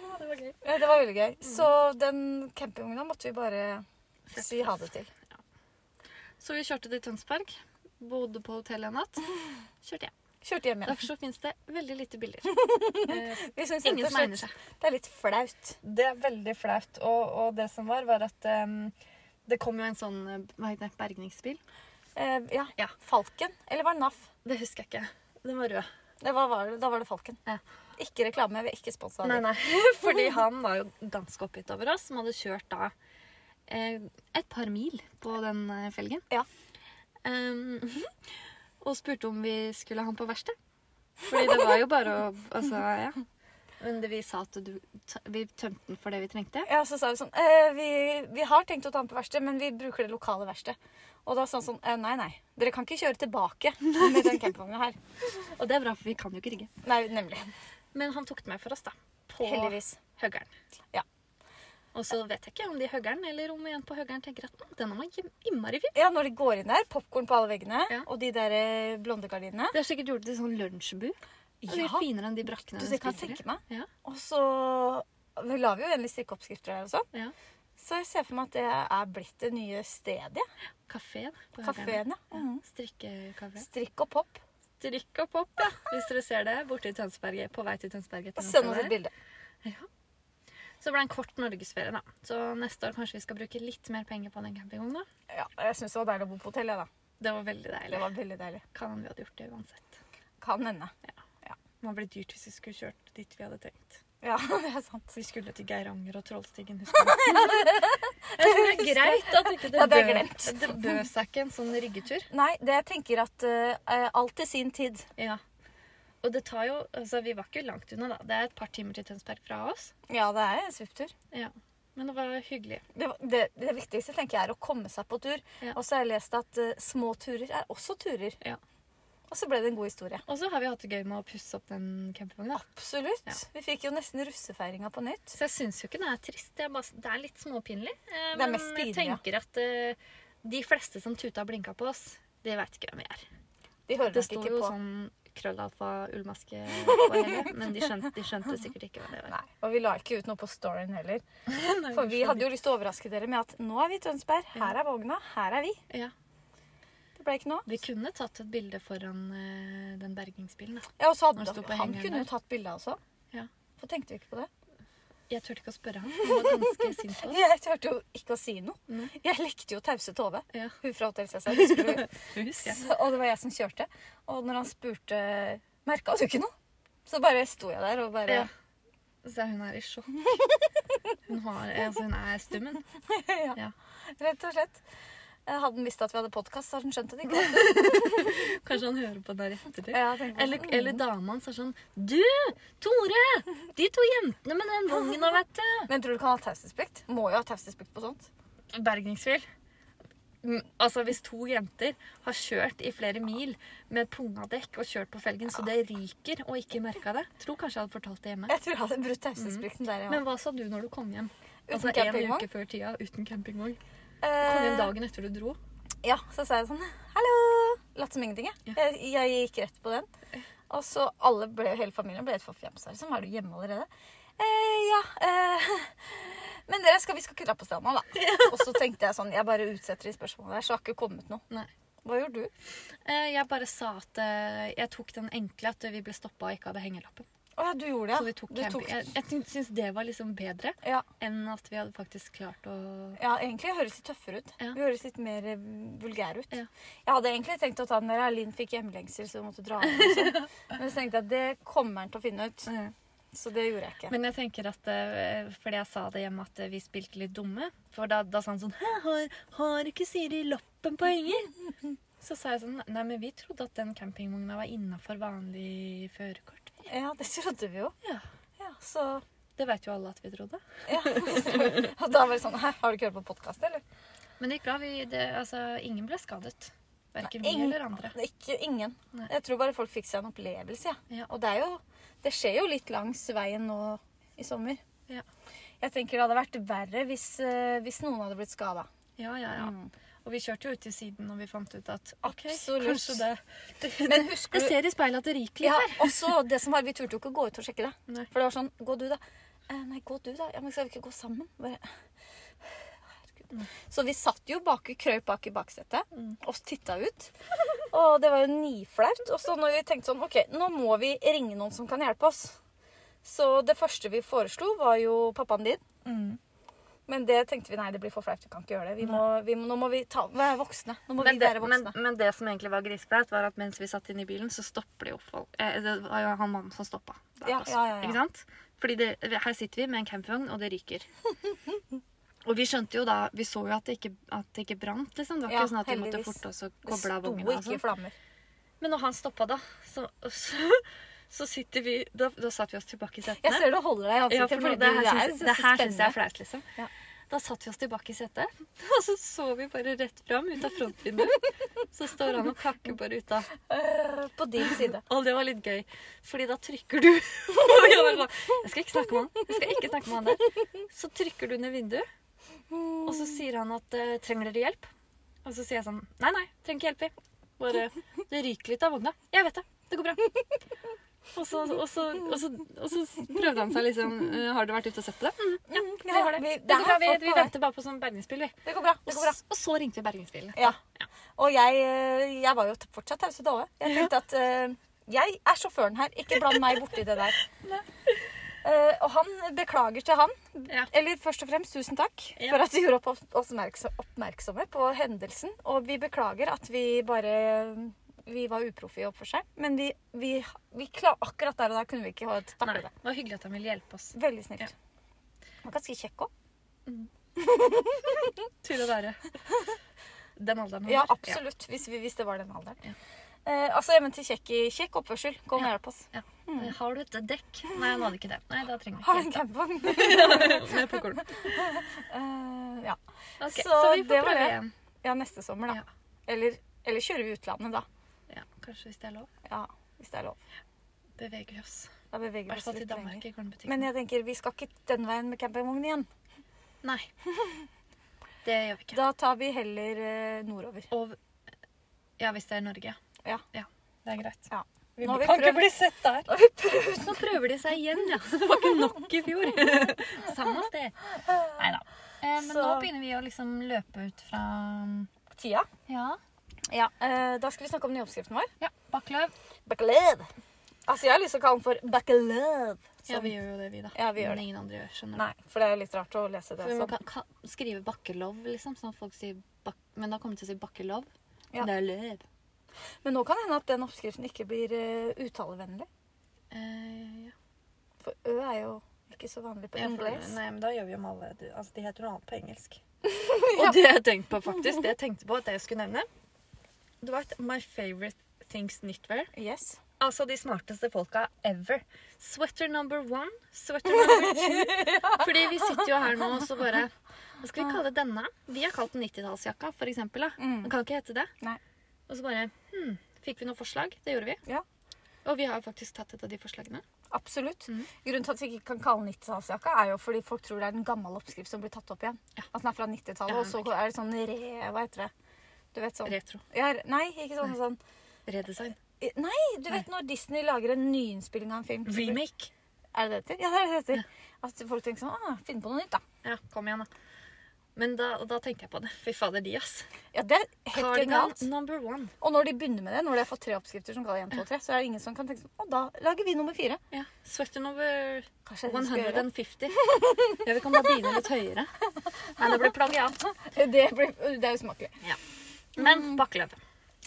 Ja, det var gøy. Ja, Det var veldig gøy. Så den campingvogna måtte vi bare si ha det til. Så vi kjørte til Tønsberg. Bodde på hotellet en natt. Kjørte hjem. Kjørte hjem igjen. Derfor så fins det veldig lite bilder. Eh, Vi synes rett Ingen og som egner slett seg. Det er litt flaut. Det er veldig flaut. Og, og det som var, var at em, det kom Kom jo en sånn eh, hva heter det, bergningsbil. Eh, ja. Ja. Falken. Eller var det NAF? Det husker jeg ikke. Den var rød. Det var, var det, da var det Falken. Ja. Ikke reklame. Vi er ikke sponsa. Nei, nei. Fordi han var jo ganske oppgitt over oss, som hadde kjørt da eh, et par mil på den eh, felgen. Ja. Ehm, og spurte om vi skulle ha han på verksted. Fordi det var jo bare å Altså, ja. Men det, vi sa at du, t- vi tømte den for det vi trengte. Ja, så sa vi sånn eh, vi, vi har tenkt å ta den på verksted, men vi bruker det lokale verkstedet. Og da sa han sånn eh, Nei, nei. Dere kan ikke kjøre tilbake med den campingvogna her. Og det er bra, for vi kan jo ikke rigge. Nei, nemlig. Men han tok den med for oss, da. På Heldigvis. høggeren. Ja. Og så vet jeg ikke om de i høggeren eller om en på høggeren tenker at "Mm, denne var jim- innmari fin. Ja, når de går inn der, popkorn på alle veggene, Ja. og de der eh, blondegardinene. Det er sikkert gjort til sånn lunsjbu. Ja. Det Ja. er finere enn de brakkene Du, hun det kan jeg spiser i. tenke meg. Ja. Og så vi la vi jo endelig strikkeoppskrifter der og sånn. Ja. Så jeg ser for meg at det er blitt det nye stedet. Kafé. da, på Høgern. Kafeen, ja. Mhm. Strikkekafé. Strikk og pop. Strikk og pop, ja. Hvis dere ser det borte i Tønsberg, på vei til Tønsberg. etter Send natta oss et der. bilde. Ja. Så det ble en kort norgesferie, da. Så neste år kanskje vi skal bruke litt mer penger på den campingvogna. Ja, jeg syns det var deilig å bo på hotell. jeg, da. Det var veldig Det deilig. var veldig deilig. Kan hende vi hadde gjort det uansett. Kan hende. Det må bli dyrt hvis vi skulle kjørt dit vi hadde tenkt. Ja, det er sant. Vi skulle til Geiranger og Trollstigen, husker du? Jeg tror det er greit at ikke det, Ja, det er bø- glemt. det bød seg ikke en sånn ryggetur. Nei, det jeg tenker at eh, alt til sin tid. Ja. Og det tar jo Altså, vi var ikke langt unna, da. Det er et par timer til Tønsberg fra oss. Ja, det er en svipptur. Ja. Men det var hyggelig. Det, var- det, det viktigste tenker jeg er å komme seg på tur. Ja. Og så har jeg lest at eh, små turer er også turer. Ja. Og så ble det en god historie. Og så har vi hatt det gøy med å pusse opp den campingvogna. Absolutt. Ja. Vi fikk jo nesten russefeiringa på nytt. Så jeg syns jo ikke det er trist. Det er, bare, det er litt småpinlig. Eh, Det er men mest jeg pinlig, ja. tenker at eh, de fleste som tuta og blinka på oss, de veit ikke hvem vi er. De hører Det nok står ikke jo på. sånn krøllalfa-ullmaske på hele. Men de skjønte, de skjønte sikkert ikke hva det var. Nei. Og vi la ikke ut noe på storyen heller. For vi hadde jo lyst til å overraske dere med at nå er vi i Tønsberg, her er vogna, her er vi. Ja. Det ble ikke noe. Vi kunne tatt et bilde foran eh, den bergingsbilen. Da. Ja, og så Når det sto hadde på Han hengeren kunne jo der. tatt bilde av oss òg. Ja. Hvorfor tenkte vi ikke på det? Jeg turte ikke å spørre ham. Han var ganske sint på oss. Jeg turte jo ikke å si noe. Nei. Jeg lekte jo tause Tove. Ja. Hun fra Hotell Cæsar. husker du? Husker jeg. Så- Og det var jeg som kjørte. Og når han spurte Merka du ikke noe? Så bare sto jeg der og bare Ja. Så hun er i sjokk. Hun, har, altså, hun er stummen. Ja. Ja. Rett og slett. Eh, Hadde han visst at vi hadde podkast, hadde han skjønt det ikke. Kanskje han hører på der etter. Ja, jeg tenkte "Mm, på Eller, det. eller dama hans er sånn Du, Tore! De to jentene med den vogna, vet du. Men tror du ikke han har taushetsplikt? Må jo ha taushetsplikt på sånt. bergingsbil. Mm, Altså Hvis to jenter har kjørt i flere mil med pungadekk og kjørt på felgen, så det ryker og ikke merka det Tror kanskje jeg hadde fortalt det hjemme. Jeg tror jeg hadde brutt taushetsplikten der, ja. Men hva sa du når du kom hjem? Altså En campingvogn? uke før tida uten campingvogn. Kom hjem Eh, dagen etter du dro. ja, så sa jeg sånn Hallo! Latt som ingenting, jeg. Ja. Jeg, jeg gikk rett på den. Og så alle ble, hele familien ble helt forfjamsa. Liksom. Er du hjemme allerede? Eh, ja. Eh, men dere, skal, vi skal ikke dra på stranda, da. Og så tenkte jeg sånn Jeg bare utsetter de spørsmålene der, så det har ikke kommet noe. Nei. Hva gjorde du? Eh, Jeg bare sa at eh, jeg tok den enkle at vi ble stoppa og ikke hadde hengelappen. Å ja, du gjorde det. ja. Så vi tok du camping. Jeg, jeg syns- syns det var liksom bedre Ja, enn at vi hadde faktisk klart å ja, egentlig høres litt tøffere ut. Ja. Vi høres litt mer eh, vulgære ut. Ja. Jeg hadde egentlig tenkt å ta den der Linn fikk hjemlengsel, så hun måtte dra hjem. og sånn. Men så tenkte jeg at det kommer han til å finne ut. Så det gjorde jeg ikke. Men jeg tenker at eh, Fordi jeg sa det hjemme at eh, vi spilte litt dumme. For da, da sa han sånn Hæ, har, har ikke Siri lappen på henger? Så sa jeg sånn Nei, men vi trodde at den campingvogna var innafor vanlig førerkort. Ja, det trodde vi jo. Ja. Ja, så Det veit jo alle at vi trodde. ja. Og da var det sånn Hæ, har du ikke hørt på podkast, eller? Men det gikk bra. Vi, det, altså, ingen ble skadet. Verken vi Ingen- eller andre. Det er Ikke, ingen. Nei. Jeg tror bare folk fikk seg en opplevelse, jeg. Ja. Og det er jo Det skjer jo litt langs veien nå i sommer. Ja. Jeg tenker det hadde vært verre hvis, eh, hvis noen hadde blitt skada. Ja, ja, ja. Mm. Og vi kjørte jo ut til siden når vi fant ut at ok, Absolutt. kanskje det, det, Men husker Jeg du ser i speilet at det ryker litt Ja, her. også det som var Vi turte jo ikke gå ut og sjekke det. Nei. For det var sånn Gå du, da. Eh, nei, gå du, da. Ja, men skal vi ikke gå sammen? Bare Herregud. Så vi satt jo bak, krøp bak i baksetet Mm. og titta ut. Og det var jo niflaut. Og så når vi tenkte sånn OK, nå må vi ringe noen som kan hjelpe oss. Så det første vi foreslo, var jo pappaen din. Mm. Men det tenkte vi nei, det blir for flaut. Vi kan ikke gjøre det. Vi må, vi må, nå må vi ta, være voksne. Nå må Men vi det, være men, voksne. men det som egentlig var griseflaut, var at mens vi satt inne i bilen, så stopper det jo folk. Eh, det var jo han mannen som stoppa. bak Ja, oss, ja, ja, ja. Ikke sant? Fordi det, her sitter vi med en campingvogn, og det ryker. Og vi skjønte jo da Vi så jo at det ikke, at det ikke brant, liksom. Det var Ja, ikke sånn at vi måtte heldigvis. forte oss og det koble av sto vogna. og ikke i sånn. flammer. Men når han stoppa, da, så, så, så sitter vi Da, da satte vi oss tilbake i Jeg setene. ser du holder deg i Ja, ansiktet. for fordi det du her er syns så det her syns jeg spennende. er flaut, liksom. Ja. Da satt vi oss tilbake i setet, og så så vi bare rett fram ut av frontvinduet. Så står han og kakker bare ut av Øh, På din side. Og det var litt gøy, fordi da trykker du Og jeg bare sånn, Jeg skal ikke snakke med han. Jeg skal ikke snakke med han der. Så trykker du ned vinduet, og så sier han at eh, 'Trenger dere hjelp?' Og så sier jeg sånn 'Nei, nei, trenger ikke hjelp, jeg. Bare Det ryker litt av vogna. Jeg vet det. Det går bra. Og så, og så, og så, og så prøvde han seg liksom eh, 'Har dere vært ute og sett det?' Mm, ja, vi har det. vi- det det går har bra, vi, folk på vi vei.» venter bare på sånn bergingsbil, vi. Det går bra. det Og, går bra. s- og så ringte vi bergingsbilen. Ja. Og jeg, øh, jeg var jo t- fortsatt tause dave. Jeg tenkte at øh, jeg er sjåføren her, ikke bland meg borti det der. Eh, og han beklager til han. Ja. Eller først og fremst tusen takk Ja. for at du gjorde opp- oss oppmerksom, oppmerksomme på hendelsen. Og vi beklager at vi bare Vi var uproffe i oppførsel. Men vi, vi, vi klar, akkurat der og da kunne vi ikke ha- takle Nei, det. det var hyggelig at han ville hjelpe oss. Veldig snilt. Ja. Og ganske kjekk òg. Til å være den alderen han Ja, var. absolutt. Hvis, vi, hvis det var den alderen. Ja. Eh, altså, jeg mente kjekk, i- kjekk oppførsel. Kom og Ja. hjelp oss. Ja. Eh, Har du et dekk? Nei, han hadde ikke det. Nei, da trenger Mm. Har du vi en ikke campingvogn? hjelp. Med på korn. Eh, ja. Ok, Så så, vi det var får prøve det. igjen. ja, neste sommer, da. Ja. Eller, eller kjører vi utlandet, da. Ja, kanskje hvis det er lov. Ja, hvis det er lov. Beveger oss. Da I beveger vi hvert oss fall til litt Danmark lenger. i kornbutikken. Men jeg tenker, vi skal ikke den veien med campingvogn igjen. Nei. Det gjør vi ikke. Da tar vi heller eh, nordover. Og ja, hvis det er Norge. Ja. Det er greit. Ja. Vi Nå har vi kan ikke prøvd. bli sett der. Og vi prøver. Nå prøver de seg igjen, ja. Det var ikke nok i fjor. Samme sted. Nei da. Eh, men Så- nå begynner vi å liksom løpe ut fra Tida. Ja. Ja, eh, da skal vi snakke om den nye oppskriften vår. ja Bakkløv. Bacalov. Altså, jeg har lyst til å kalle den for bacalov. Ja, vi gjør jo det, vi, da. Ja, vi gjør Men ingen andre gjør, skjønner du. Nei, for det er litt rart å lese det For vi må sånn. Man kan, kan skrive bakkelov, liksom, sånn at folk sier bak... Men da kommer de til å si bakkelov. Ja. Det er løv. Men nå kan det hende at den oppskriften ikke blir eh, uttalevennlig. Eh, ja. For ø er jo ikke så vanlig på Ja, for- engelsk. Nei, men da gjør vi om alle du- Altså, de heter noe annet på engelsk. Og det jeg tenkte på, faktisk, det jeg tenkte på at jeg skulle nevne Du vet My Favorite Things Knitwear? Yes. Altså de smarteste folka ever. Sweater number one, sweater number two. Fordi vi sitter jo her nå og så bare Hva skal vi kalle denne? Vi har kalt den 90-tallsjakka, for eksempel. Da. Mm. Den kan ikke hete det. Nei. Og så bare hmm, Fikk vi noen forslag? Det gjorde vi. Ja. Og vi har jo faktisk tatt et av de forslagene. Absolutt. Mhm. Grunnen til at vi ikke kan kalle den 90-tallsjakka, er jo fordi folk tror det er en gammel oppskrift som blir tatt opp igjen. Ja. At den er fra 90-tallet, Ja, og så er det sånn re... Hva heter det? Du vet sånn Retro. ja, re- Nei, ikke sånn sånn Redesign. I- Nei, du vet når Disney lager en nyinnspilling av en film. så blir- Remake. Er det det heter? Ja, det er det det heter. At folk tenker sånn ah, Finn på noe nytt, da. Ja, kom igjen, da. Men da, og da tenkte jeg på det. Fy fader, de, ass. Ja, det er helt Cardigan genialt. number one. Og når de begynner med det, når de har fått tre oppskrifter som kaller 1, 2, 3, så er det ingen som kan tenke sånn Å, da lager vi nummer fire. Ja. Sweater number Kanskje jeg skal gjøre 150. Ja, vi kan bare begynne litt høyere. Nei, det blir plagiat. det. Det, blir, det er usmakelig. Mm. Men bakkeløv.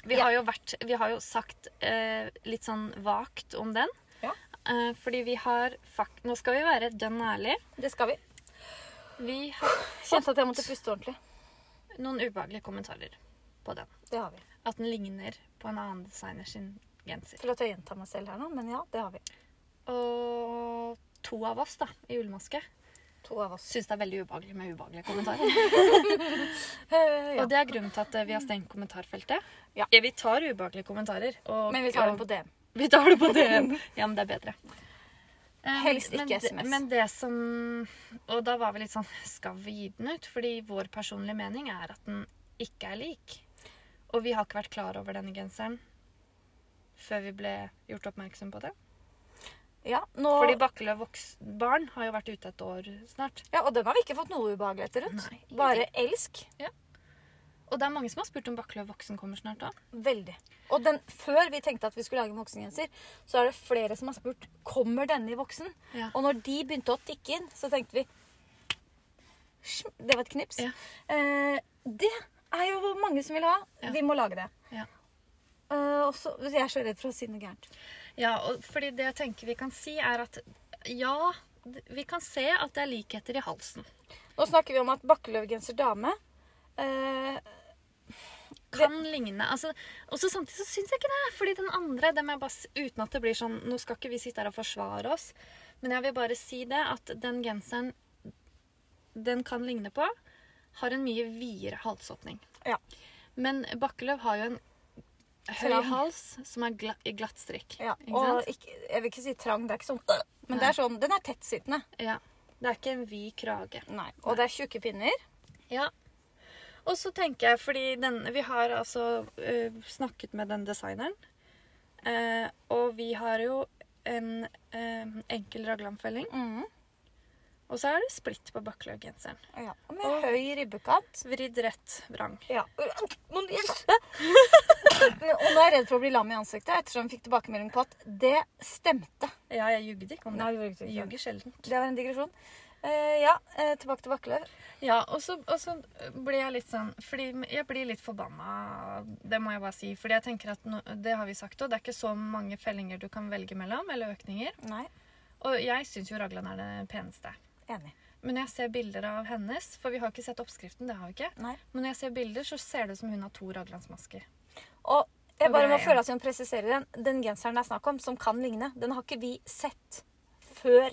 Vi har jo, vært, vi har jo sagt eh, litt sånn vagt om den. Ja. Eh, fordi vi har fak Nå skal vi være dønn ærlige. Det skal vi. Vi har Kjente at jeg måtte puste ordentlig. noen ubehagelige kommentarer på den. Det har vi. At den ligner på en annen designer sin genser. Til at jeg gjentar meg selv her nå, men ja, det har vi. Og to av oss da, i ullmaske To av oss. syns det er veldig ubehagelig med ubehagelige kommentarer. Eh, ja. Og det er grunnen til at eh, vi har stengt kommentarfeltet. Ja. vi tar ubehagelige kommentarer. Og, Men vi tar og- det på DM. Vi tar det på DM. Ja, men det er bedre. Eh, Helst men ikke det- SMS. Men det som Og da var vi litt sånn Skal vi gi den ut? Fordi vår personlige mening er at den ikke er lik. Og vi har ikke vært klar over denne genseren før vi ble gjort oppmerksom på det. Ja, nå, Fordi Bakkeløv voks- barn har jo vært ute et år snart. ja, og den har vi ikke fått noe ubehageligheter rundt. Nei, ingenting. Bare elsk. Og det er mange som har spurt om Bakkeløv voksen kommer snart òg. Veldig. Og den, før vi tenkte at vi skulle lage en voksengenser, så er det flere som har spurt kommer denne i voksen. Ja. Og når de begynte å tikke inn, så tenkte vi «Shm», Det var et knips. Ja. Eh, det er jo hvor mange som vil ha. Ja. Vi må lage det. Ja. Eh, og så- jeg er så redd for å si noe gærent. Ja, og fordi det jeg tenker vi kan si, er at ja, d- vi kan se at det er likheter i halsen. Nå snakker vi om at Bakkeløvgenser dame eh, kan ligne. Altså, og så samtidig så syns jeg ikke det. Fordi den andre, dem er bare, s- uten at det blir sånn Nå skal ikke vi sitte her og forsvare oss, men jeg vil bare si det at den genseren den kan ligne på, har en mye videre halsåpning. Ja. Men Bakkeløv har jo en høy Trang. hals som er gla, i glatt strikk. ja, ikke og sant? ikke, Jeg vil ikke si trang, det er ikke sånn øh, Men det er sånn, den er tettsittende. Ja. Det er ikke en vid krage. Nei. Og det er tjukke pinner. Ja. Og så tenker jeg, fordi den, vi har altså eh, snakket med den designeren. eh, og vi har jo en eh, enkel raglanfelling. Mhm. Og så er det splitt på bakkeløggenseren. Ja. Og med høy ribbekant. Vridd rett vrang. Ja. Nå er jeg redd for å bli lam i ansiktet ettersom jeg fikk tilbakemelding på at det stemte. Ja, jeg jugde ikke om det. Jeg det ljuger sjelden. var en digresjon. Eh, ja, eh, tilbake til Bakkeløv. Ja, og så, og så blir jeg litt sånn Fordi jeg blir litt forbanna, det må jeg bare si. Fordi jeg tenker at nå- det har vi sagt òg, det er ikke så mange fellinger du kan velge mellom, eller økninger. Nei, Og jeg syns jo raglan er det peneste. enig. Men når jeg ser bilder av hennes, for vi har ikke sett oppskriften, det har vi ikke. Nei. Men når jeg ser bilder, så ser det ut som hun har to raglandsmasker. Og jeg Og bare det må er føle at jeg må presisere den. Den genseren det er snakk om, som kan ligne, den har ikke vi sett før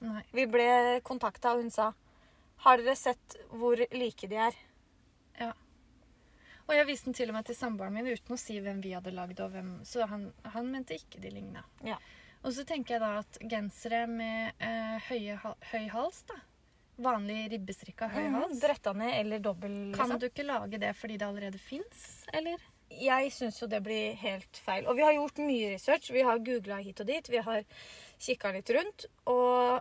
Nei. vi ble kontakta, og hun sa Har dere sett hvor like de er? Og jeg viste den til og med til samboeren min uten å si hvem vi hadde lagd, og hvem Så han, han mente ikke de ligna. Ja. Og så tenker jeg da at gensere med eh, høye, ha- høy hals, da. Vanlig ribbestrikka høy Mhm, hals. Bretta ned eller dobbel, Kan liksom? du ikke lage det fordi det allerede fins, eller? jeg syns jo det blir helt feil. Og vi har gjort mye research. Vi har googla hit og dit. Vi har kikka litt rundt. Og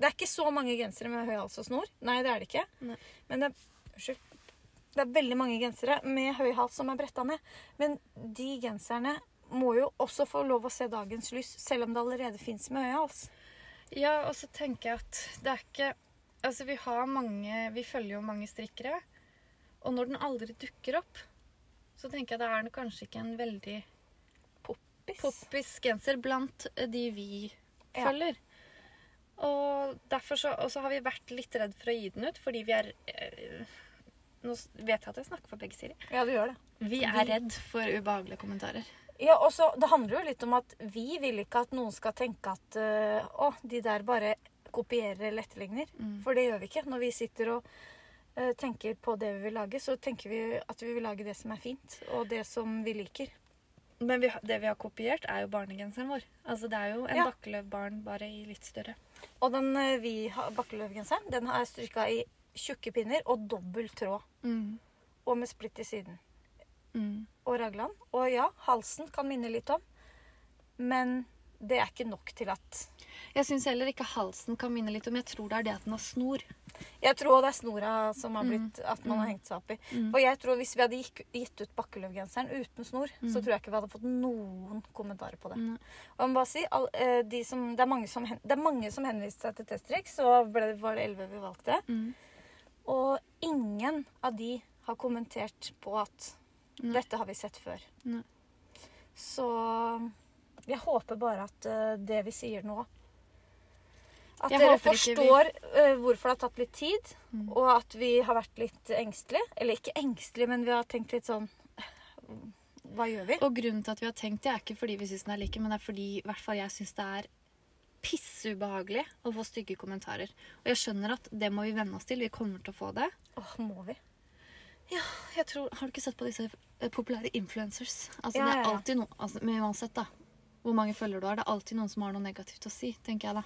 det er ikke så mange gensere med høy hals og snor. Nei, det er det ikke. Nei. Men det er, unnskyld, det er veldig mange gensere med høy hals som er bretta ned. Men de genserne må jo også få lov å se dagens lys, selv om det allerede fins med høy hals. Ja, og så tenker jeg at det er ikke Altså, vi har mange Vi følger jo mange strikkere. Og når den aldri dukker opp, så tenker jeg da er den kanskje ikke en veldig Biss. poppis genser blant eh, de vi Ja. følger. Og derfor så og så har vi vært litt redd for å gi den ut, fordi vi er eh, Nå s- vet jeg at jeg snakker for begge sider. Ja, du gjør det. Vi er redd for ubehagelige kommentarer. Ja, og så, Det handler jo litt om at vi vil ikke at noen skal tenke at øh, å, de der bare kopierer eller etterligner. For det gjør vi ikke. Når vi sitter og øh, tenker på det vi vil lage, så tenker vi at vi vil lage det som er fint, og det som vi liker. Men vi, har- det vi har kopiert, er jo barnegenseren vår. Altså Det er jo en Ja. bakkeløvbarn, bare i litt større. Og den øh, vi har, bakkeløvgenseren, den er strykka i tjukke pinner og dobbel tråd. Mm. Og med splitt i siden. Mm. Og raglan. Og ja, halsen kan minne litt om, men det er ikke nok til at Jeg syns heller ikke halsen kan minne litt om Jeg tror det er det at den har snor. Jeg tror det er snora som har blitt at man har hengt seg opp i. For jeg tror Hvis vi hadde gikk, gitt ut Bakkeløv-genseren uten snor, så tror jeg ikke vi hadde fått noen kommentarer på det. Nei. Og jeg må bare si, all, eh, de som, det, er mange som, hen- det er mange som henviste seg til Testrek, så ble, det- var det elleve vi valgte. Mm. Og ingen av de har kommentert på at Nei. dette har vi sett før. Nei. Så jeg håper bare at eh, det vi sier nå At Jeg dere håper ikke vi- Mm. forstår eh, hvorfor det har tatt litt tid, og at vi har vært litt engstelige. Eller ikke engstelige, men vi har tenkt litt sånn Hva gjør vi? Og grunnen til at vi har tenkt det, er ikke fordi vi syns den er like, men det er fordi i hvert fall jeg syns det er pisseubehagelig å få stygge kommentarer. Og jeg skjønner at det må vi venne oss til. Vi kommer til å få det. Åh, må vi? Jeg tror, Har du ikke sett på disse eh, populære influencers? Altså, Ja, det ja, er ja. alltid noe, altså, Men uansett, da. Hvor mange følgere du har. Det er alltid noen som har noe negativt å si, tenker jeg da.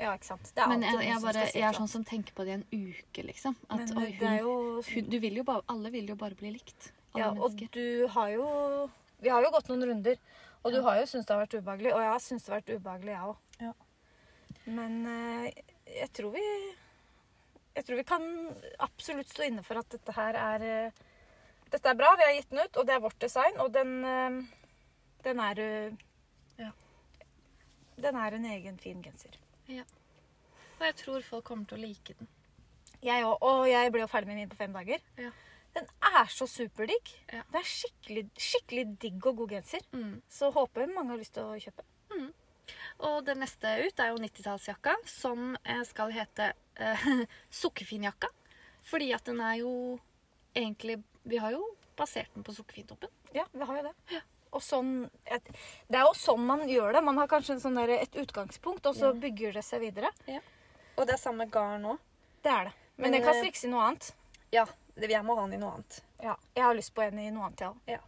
Ja, ikke sant. Det er Men alltid jeg, noen jeg, som bare, skal si jeg er fra. sånn som tenker på det i en uke, liksom. At, Men oi, det hun, er jo hun, du vil jo bare, alle vil jo bare bli likt. Alle Ja, og mennesker. du har jo Vi har jo gått noen runder, og du har jo syntes det har vært ubehagelig. Og jeg har syntes det har vært ubehagelig, jeg òg. Ja. Men eh, jeg tror vi Jeg tror vi kan absolutt stå inne for at dette her er eh, Dette er bra. Vi har gitt den ut, og det er vårt design, og den eh, Den er eh, Ja. Den er en egen fin genser. Og jeg tror folk kommer til å like den. Jeg òg. Og jeg ble jo ferdig med min på fem dager. Ja. Den er så superdigg. Ja. Det er skikkelig, skikkelig digg og god genser. Mm. Så håper mange har lyst til å kjøpe. Og det neste ut er jo 90-tallsjakka, som eh, skal hete eh, sukkerfinjakka. Fordi at den er jo egentlig Vi har jo basert den på sukkerfintoppen. Ja, vi har jo det. Og sånn, et, det er jo sånn man gjør det. Man har kanskje en sånn der, et utgangspunkt, og så bygger det seg videre. Og det er samme garn òg. Det er det. Men det Men, kan eh, strikkes i noe annet. Ja. Jeg må ha den i noe annet. Ja, Jeg har lyst på en i noe annet, jeg òg.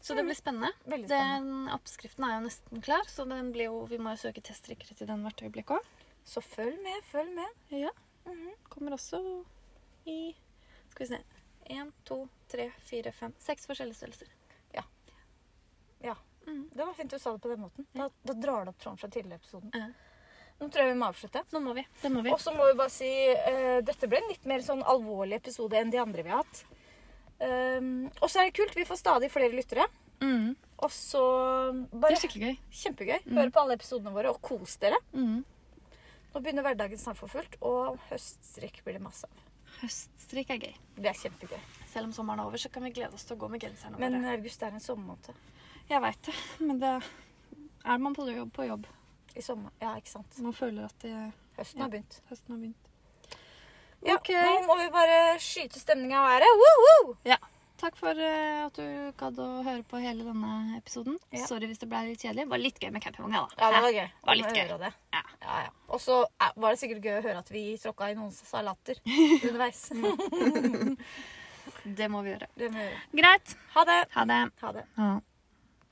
Så det blir spennende. Veldig spennende. Den oppskriften er jo nesten klar, så den blir jo, vi må jo søke teststrikkere til den hvert øyeblikk òg. Så følg med, følg med. Ja. Kommer også i Skal vi se Én, to, tre, fire, fem Seks forskjellige størrelser. Det var fint du sa det på den måten. Da, da drar det opp tråden fra tidligere episoden. Ja. Nå tror jeg vi må avslutte. Nå må vi. Det må vi. Og så må vi bare si eh, dette ble en litt mer sånn alvorlig episode enn de andre vi har hatt. Um, og så er det kult. Vi får stadig flere lyttere. Mm. Og så Det bare er skikkelig gøy. Kjempegøy. Hør på alle episodene våre og kos dere. Mm. Nå begynner hverdagen snart for fullt, og høststrikk blir det masse av. Høststrikk er gøy. Det er kjempegøy. Selv om sommeren er over, så kan vi glede oss til å gå med genserne Men våre. august er en sommermåned. Jeg veit det, men det er man på jobb på jobb. I sommer. Ja, ikke sant. Man føler at det, Høsten Ja. har begynt. høsten har begynt. Ja, Ok. Nå må vi bare skyte stemninga av været. Woohoo! Takk for eh, at du gadd å høre på hele denne episoden. Ja. Sorry hvis det ble litt kjedelig. Det var litt gøy med campingvogna, da. Ja, det var gøy. var litt Å gøy. høre Det. Ja. Ja, ja. Og så eh, var det sikkert gøy å høre at vi tråkka i noen salater underveis. Det må vi gjøre. det må vi gjøre. Greit. Ha det. Ha det. Ha det. Ja.